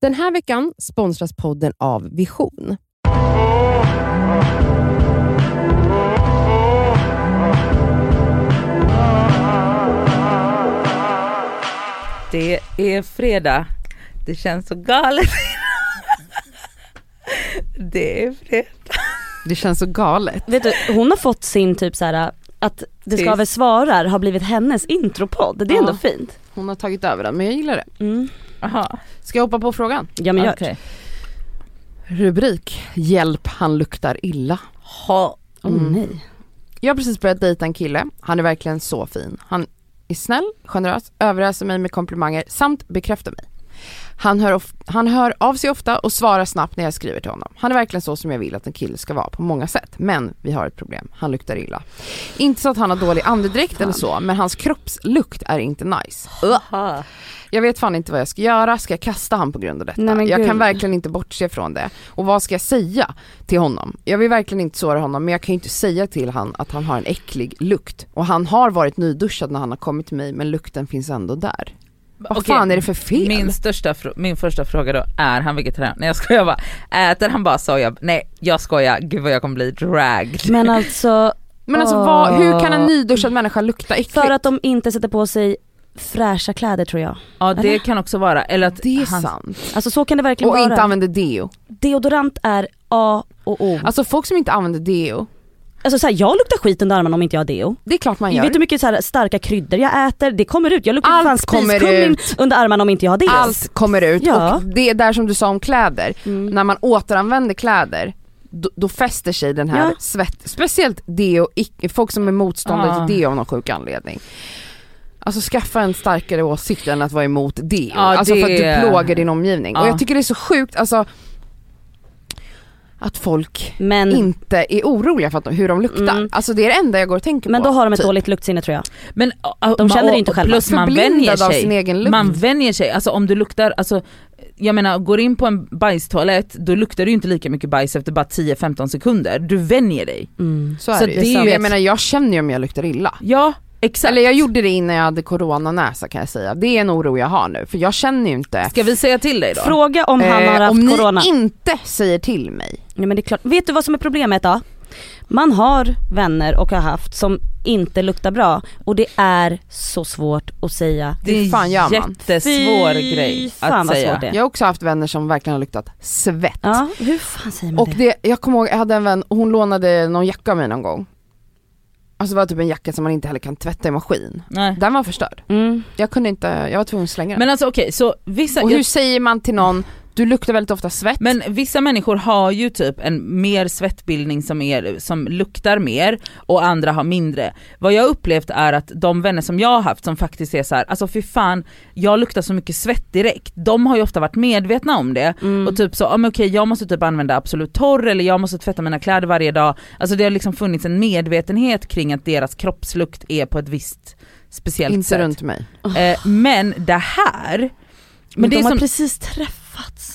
Den här veckan sponsras podden av Vision. Det är fredag. Det känns så galet. Det är fredag. Det känns så galet. Vet du, hon har fått sin typ så här att Det ska Tyst. väl svarar har blivit hennes intropodd. Det är Ja. ändå fint. Hon har tagit över den, men jag gillar det. Mm. Jaha, Ska jag hoppa på frågan? Ja men gör det. okej. Rubrik, hjälp han luktar illa. Ha. Åh Mm. nej. Jag har precis börjat dejta en kille, han är verkligen så fin. Han är snäll, generös, överöser mig med komplimanger samt bekräftar mig. Han hör, of- han hör av sig ofta och svarar snabbt när jag skriver till honom. Han är verkligen så som jag vill att en kille ska vara på många sätt. Men vi har ett problem, han luktar illa. Inte så att han har dålig andedräkt eller så, men hans kroppslukt är inte nice. Jaha. Jag vet fan inte vad jag ska göra, ska jag kasta han på grund av detta? Nej, men jag gud. kan verkligen inte bortse från det. Och vad ska jag säga till honom? Jag vill verkligen inte såra honom men jag kan ju inte säga till han att han har en äcklig lukt. Och han har varit nyduschad när han har kommit till mig men lukten finns ändå där. Vad Okej, fan är det för fel? Min, största, fr- min första fråga då, är han vegetarian? Nej jag skojar bara. Äter han bara soja? Nej jag skojar, gud vad jag kommer bli dragged. Men alltså Men alltså vad, hur kan en nyduschad människa lukta äckligt? för att de inte sätter på sig fräscha kläder tror jag. Ja det kan också vara, eller att det är han- sant. Alltså så kan det verkligen Och vara. inte använder deo. Deodorant är A och O. Alltså folk som inte använder deo, Alltså så här, jag luktar skit under armarna om inte jag har deo. det är klart man Jag gör. vet hur mycket så här, starka kryddor jag äter, det kommer ut. Jag luktar Allt fan kommer spiskummin under armarna om inte jag har deo. Allt kommer ut Ja. och det är där som du sa om kläder, Mm. när man återanvänder kläder då, då fäster sig den här Ja. svett, speciellt deo, ic- folk som är motståndare Ah. till deo av någon sjuk anledning. Alltså skaffa en starkare åsikt än att vara emot deo, Ja, alltså för att det- du plågar din omgivning. Och Ja. jag tycker det är så sjukt alltså att folk Men, Mm. inte är oroliga för att de, hur de luktar. Mm. Alltså det är det enda jag går och tänker men på. då har de ett typ. dåligt luktsinne tror jag. Men, De känner det inte själva. Plus man vänjer Förblindad av sin sig. egen lukt. Man vänjer sig, alltså om du luktar, alltså jag menar går in på en bajstoalett då luktar det ju inte lika mycket bajs efter bara 10-15 sekunder. Du vänjer dig. Mm. Så är Så det, det är ju. ju Jag ett- menar jag känner ju om jag luktar illa. Ja exakt. Eller jag gjorde det innan jag hade coronanäsa kan jag säga. Det är en oro jag har nu för jag känner ju inte. Ska vi säga till dig då? Fråga om han har Eh, haft om corona. ni inte säger till mig. Nej men det är klart. Vet du vad som är problemet då? Man har vänner och har haft som inte luktar bra och det är så svårt att säga. det är hur fan en gör man? jättesvår Fy grej att fan, vad säga. svårt det är. Jag har också haft vänner som verkligen har luktat svett. Ja, hur fan säger man Och det? det, jag kommer ihåg, jag hade en vän, hon lånade någon jacka av mig någon gång. Alltså det var typ en jacka som man inte heller kan tvätta i maskin. Nej. Den var förstörd. Mm. Jag kunde inte, jag var tvungen att slänga den. Men alltså okej, så vissa, och jag- hur säger man till någon, du luktar väldigt ofta svett. men vissa människor har ju typ en mer svettbildning som, är, som luktar mer och andra har mindre. Vad jag upplevt är att de vänner som jag har haft som faktiskt är så här, alltså fy fan jag luktar så mycket svett direkt. De har ju ofta varit medvetna om det Mm. och typ så, ja men okej jag måste typ använda Absolut Torr eller jag måste tvätta mina kläder varje dag. Alltså det har liksom funnits en medvetenhet kring att deras kroppslukt är på ett visst speciellt inte sätt. runt mig. Eh, men det här, men, Men det de är har som, precis träffats.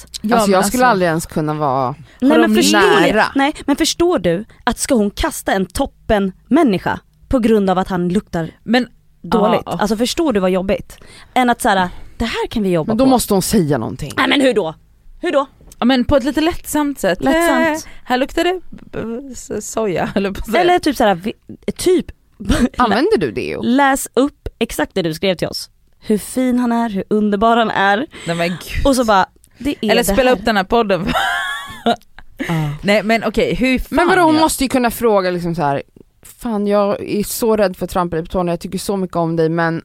alltså men jag alltså- skulle aldrig ens kunna vara, Nej de men, förstår nära? du, nej men förstår du att ska hon kasta en toppen människa på grund av att han luktar men dåligt? Ja. Alltså förstår du vad jobbigt? Än att såhär, det här kan vi jobba men då på. måste hon säga någonting. Nej men hur då? Hur då? Ja men på ett lite lättsamt sätt. Lättsamt. Eh, här luktar det b- s- soja eller på att säga. Eller typ såhär, vi- typ Använder du deo? läs upp exakt det du skrev till oss. Hur fin han är, hur underbar han är. Nej, men gud. Och så bara, det är Eller det spela här. upp den här podden. Nej men okej, hur fan Men vadå hon gör- måste ju kunna fråga liksom så här. fan jag är så rädd för att trampa dig på tårna, jag tycker så mycket om dig men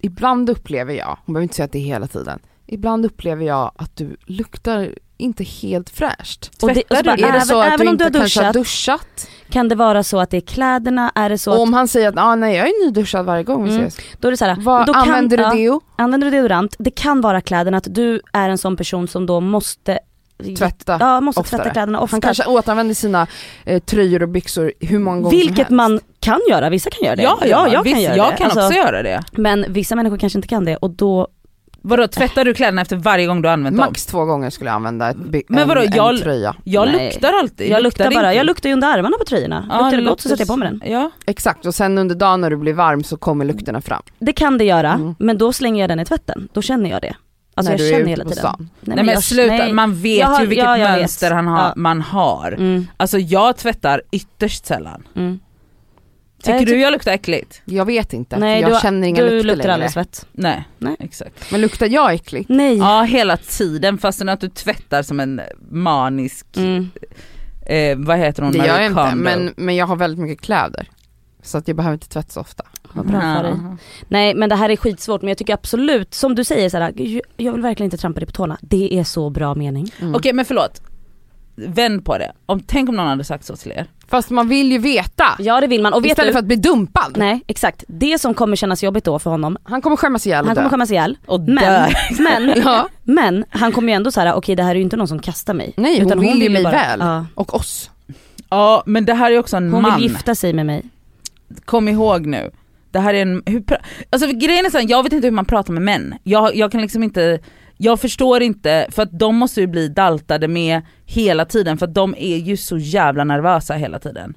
ibland upplever jag, hon behöver inte säga att det är hela tiden, ibland upplever jag att du luktar inte helt fräscht. Och det, och så Tvättar bara, du? är det även, så att även du om du inte har kanske har duschat, duschat? kan det vara så att det är kläderna, är det så Och att, om han säger att ah, nej jag är nyduschad varje gång vi Mm. ses, då är det så här, vad då använder kan, du deo? Ja, använder du deodorant, det kan vara kläderna, att du är en sån person som då måste Tvätta? Ja, måste oftare. tvätta kläderna Han oftare. kanske återanvänder sina eh, tröjor och byxor hur många gånger som Vilket helst. man kan göra, vissa kan göra det. Ja, ja, jag visst, kan göra jag det. kan Alltså, också göra det. Men vissa människor kanske inte kan det och då, Vadå tvättar du kläderna efter varje gång du har använt dem? Max två gånger skulle jag använda ett, by- Men en, vadå, en jag- tröja. Jag Nej. luktar alltid. jag luktar det bara, inte? jag luktar ju under armarna på tröjorna. Ja, luktar det gott så luktar- sätter jag på mig den. Ja. Exakt och sen under dagen när du blir varm så kommer lukterna fram. Det kan det göra, Mm. men då slänger jag den i tvätten. Då känner jag det. Alltså när jag du känner är hela ute på tiden. stan. Nej, men jag- sluta, nej. man vet Jag har- ju vilket ja, jag vet. mönster han har, Ja. man har. Mm, Alltså jag tvättar ytterst sällan. mm. Tycker Jag du jag luktar äckligt? Jag vet inte, för Nej, jag du- känner inga Du lukter luktar längre. aldrig svett. Nej, Nej. exakt. Men luktar jag äckligt? Nej. Ja hela tiden fastän att du tvättar som en manisk, Mm. eh, vad heter hon, Det gör jag inte, Kondo. men, men jag har väldigt mycket kläder. Så att jag behöver inte tvätta så ofta. Vad bra för dig. Nej men det här är skitsvårt men jag tycker absolut, som du säger såhär, "Gud, jag vill verkligen inte trampa dig på tårna. Det är så bra mening. Mm. Okej men förlåt, vänd på det. Om, tänk om någon hade sagt så till er. Fast man vill ju veta. Ja det vill man och vet Istället du, för att bli dumpad. nej exakt, det som kommer kännas jobbigt då för honom, Han kommer skämmas ihjäl och han dö. kommer skämmas ihjäl. Och Men, dö. men, Ja. men han kommer ju ändå såhär, okej det här är ju inte någon som kastar mig. Nej, hon vill ju mig väl. Ja. Och oss. Ja men det här är också en Hon man. vill gifta sig med mig. kom ihåg nu. Det här är en, hur, pra- alltså för grejen är så här, jag vet inte hur man pratar med män. Jag, jag kan liksom inte, jag förstår inte, för att de måste ju bli daltade med hela tiden för att de är ju så jävla nervösa hela tiden.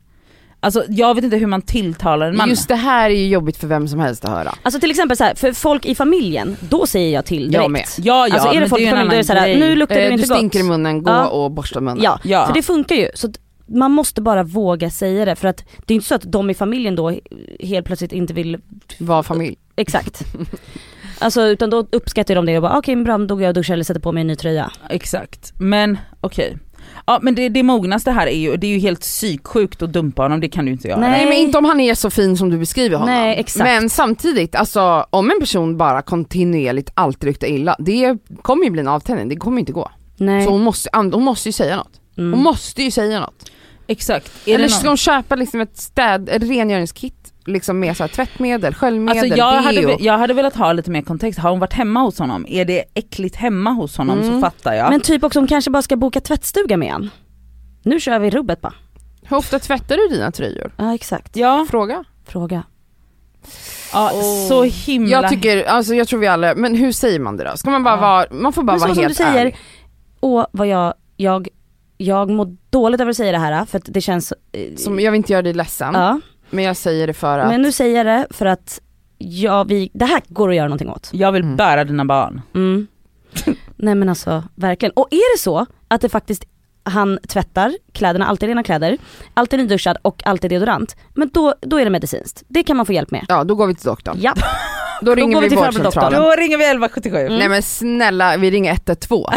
Alltså jag vet inte hur man tilltalar en man. Just det här är ju jobbigt för vem som helst att höra. Alltså till exempel så här, för folk i familjen, då säger jag till direkt. Jag med. ja ja, Alltså är det men folk i ju en familjen då är det annan såhär, grej. nu luktar du Eh, du inte gott. stinker i munnen, gå Ja. och borsta munnen. Ja, Ja. för det funkar ju. Så att man måste bara våga säga det för att det är inte så att de i familjen då helt plötsligt inte vill, Var familj. exakt. alltså utan då uppskattar de det och bara okej men bra då går jag och duschar eller sätter på mig en ny tröja. Exakt, men okej. Ja men det, det mognaste här är ju, det är ju helt psyksjukt att dumpa honom, det kan du inte göra. Nej. Nej men inte om han är så fin som du beskriver honom. Nej, exakt. Men samtidigt, alltså om en person bara kontinuerligt alltid luktar illa, det kommer ju bli en avtändning, det kommer ju inte gå. Nej. Så hon måste, an- hon måste ju säga något. Hon Mm. måste ju säga något. Exakt. Är Eller det ska någon- hon köpa liksom ett städ, ett rengöringskit liksom med så här tvättmedel, sköljmedel, Alltså jag hade, deo. ve- jag hade velat ha lite mer kontext, har hon varit hemma hos honom? Är det äckligt hemma hos honom Mm. så fattar jag. Men typ också hon kanske bara ska boka tvättstuga med en. Nu kör vi rubbet bara. Hur ofta tvättar du dina tröjor? Ja exakt. ja, Fråga. Fråga. ja Åh. så himla... Mm, Jag tycker, alltså jag tror vi alla, men hur säger man det då? Ska man bara Ja. vara, man får bara Men så vara som helt du säger, ärlig. Och vad jag, jag, jag mår dåligt över att säga det här för att det känns... eh, Som, jag vill inte göra dig ledsen, ja. men jag säger det för att Men nu säger jag det för att ja, vi, det här går att göra någonting åt. Jag vill Mm. bära dina barn. Mm. Nej men alltså verkligen. Och är det så att det faktiskt han tvättar kläderna, alltid rena kläder, alltid nyduschad och alltid deodorant. Men då, då är det medicinskt. Det kan man få hjälp med. Ja då går vi till doktorn. Ja. Då ringer går vi vi till farbror vårdcentralen. Då ringer vi 1177. Mm. Nej men snälla vi ringer 112.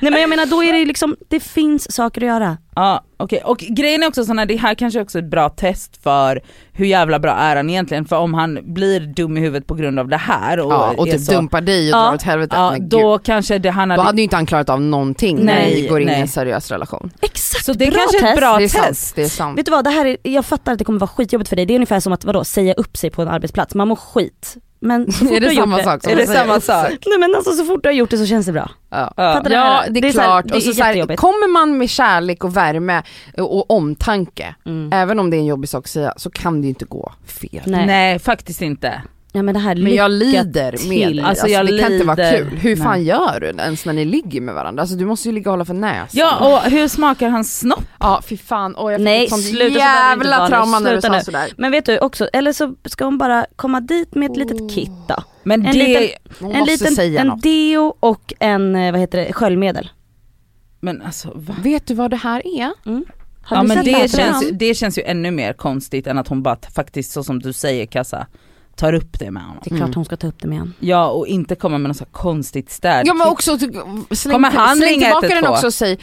Nej men jag menar då är det ju liksom, det finns saker att göra. Ja, okej. Och grejen är också sån här, det här kanske också är ett bra test för hur jävla bra är han egentligen? För om han blir dum i huvudet på grund av det här och, ja, och är typ så, dumpar dig och Ja, drar åt helvete. ja, men gud. då kanske det, han då hade... hade ju inte han klarat av någonting när Nej, vi går in i nej. en seriös relation. Exakt! så det bra kanske är ett test. bra det är test. sant. Det är sant. Vet du vad, det här är, jag fattar att det kommer vara skitjobbigt för dig. Det är ungefär som att vadå, säga upp sig på en arbetsplats. Man mår skit. Men så fort är du det har gjort samma det, sak som Är att det säga samma upp sig? sak? Nej men alltså så fort du har gjort det så känns det bra. Ja. Ja, Fattar du vad jag menar? det är, Det är så här- klart. det och så är så här, jättejobbigt. kommer man med kärlek och värme och, och omtanke, Mm. även om det är en jobbig sak att säga, så kan det ju inte gå fel. Nej. Nej. faktiskt inte. Ja, men det här Men jag lycka lider med till. dig. Alltså, Alltså, jag det kan inte vara lider. kul. Hur fan Nej. gör du ens när ni ligger med varandra? Alltså du måste ju ligga och hålla för näsan. Ja och hur smakar hans snopp? Ja fy fan, Åh, jag fick Nej, ett sånt sluta, så behöver det inte vara jävla nu. trauma när du Sluta sa nu. sådär. Men vet du också, eller så ska hon bara komma dit med ett litet Oh. kit då. Men En det, liten- Hon En måste liten säga en något. deo och en, eh, vad heter det, sköljmedel. men alltså va? Vet du vad det här Äh, är? Mm. Har Ja du men sett det här på känns, den? det känns ju ännu mer konstigt än att hon bara t- faktiskt så som du säger Kassa, tar upp det med honom. Det är klart Mm. hon ska ta upp det med en. Ja och inte komma med något så här konstigt städ. Ja men också, ty- släng, Kommer han släng ringa tillbaka 112? den också och säg,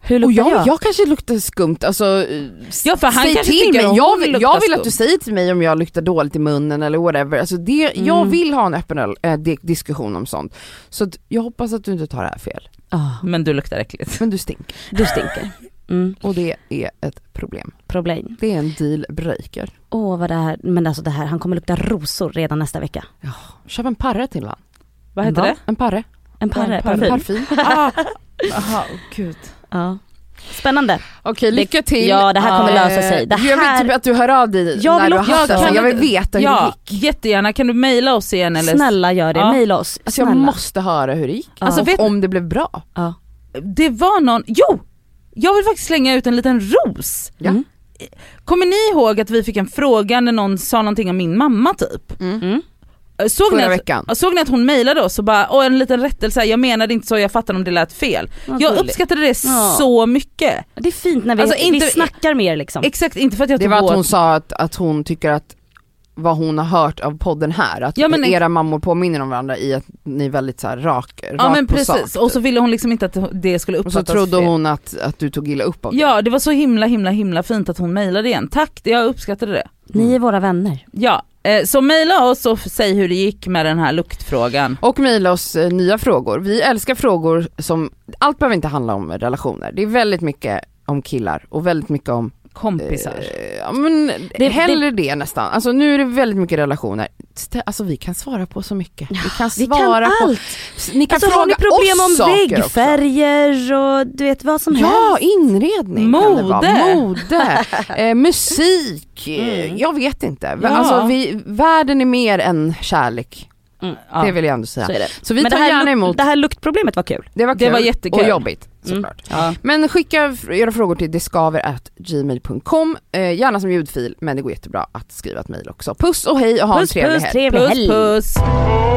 Hur och luktar jag, jag? jag kanske luktar skumt, alltså eh, Ja för han säg kanske till tycker mig, att jag hon vill, luktar jag vill att du skumt. säger till mig om jag luktar dåligt i munnen eller whatever, alltså det, jag Mm. vill ha en öppen eh, di- diskussion om sånt. Så att jag hoppas att du inte tar det här fel, Ah, Men du luktar äckligt. men du stinker du stinker. Mm, och det är ett problem. problem. Det är en dealbreaker. Åh vad det här, men alltså det här, han kommer lukta rosor redan nästa vecka. Köp en parre till han. Vad heter Va? det? En Äh? parre, En parre, En parre. en parfym. parfym. Jaha, ah, gud. Ja. Spännande. Okej lycka till. ja, det här kommer Eh, lösa sig. Det Jag här- vill typ att du hör av dig Jag när vill du har också- haft jag det. kan Jag vill inte- veta hur det Ja gick. jättegärna, kan du mejla oss igen eller? Snälla gör det, Ja. mejla oss. Alltså jag Snälla. måste höra hur det gick. Ja. Alltså, och vet- om det blev bra. Ja. Det var någon, jo! Jag vill faktiskt slänga ut en liten ros. Ja. Mm. Kommer ni ihåg att vi fick en fråga när någon sa någonting om min mamma typ? Mm. Såg ni, förra att, veckan. såg ni att hon mejlade oss och bara, åh en liten rättelse, här, jag menade inte så, jag fattar om det lät fel. Vad Jag gulligt. uppskattade det Ja. så mycket. Det är fint när vi, Alltså, inte- vi snackar mer liksom. Exakt, inte för att jag Det tog var att åt- hon sa att, att hon tycker att vad hon har hört av podden här, att Ja, men- era mammor påminner om varandra i att ni är väldigt så här rak, rakt Ja men på precis, sak. typ. och så ville hon liksom inte att det skulle och så uppfattas trodde fel. hon att, att du tog illa upp av det. Ja det var så himla himla himla fint att hon mejlade igen. Tack, det- jag uppskattade det. Mm. Ni är våra vänner. Ja, eh, så mejla oss och f- säg hur det gick med den här luktfrågan. Och mejla oss eh, nya frågor. Vi älskar frågor som, allt behöver inte handla om relationer. Det är väldigt mycket om killar och väldigt mycket om, Kompisar. eh, ja men det- hellre det, nästan. Alltså nu är det väldigt mycket relationer. Stä- Alltså vi kan svara på så mycket. Vi kan Vi svara kan på, allt. ni kan Alltså fråga har ni problem oss om saker också. väggfärger och du vet vad som Ja, helst. inredning kan det Mode. vara. Mode, eh, musik, eh, Mm. jag vet inte. Ja. Alltså, vi, världen är mer än kärlek, Ja. det vill jag ändå Så säga. är det. Så vi Men det tar här, gärna luk- emot, det här luktproblemet var kul. det var det kul var jättekul. och jobbigt såklart. Ja. Men skicka f- era frågor till diskaver.gmail.com, eh, gärna som ljudfil men det går jättebra att skriva ett mejl också. Puss och hej och ha Puss, en trevlig puss, helg. trevlig Puss helg. puss. Oh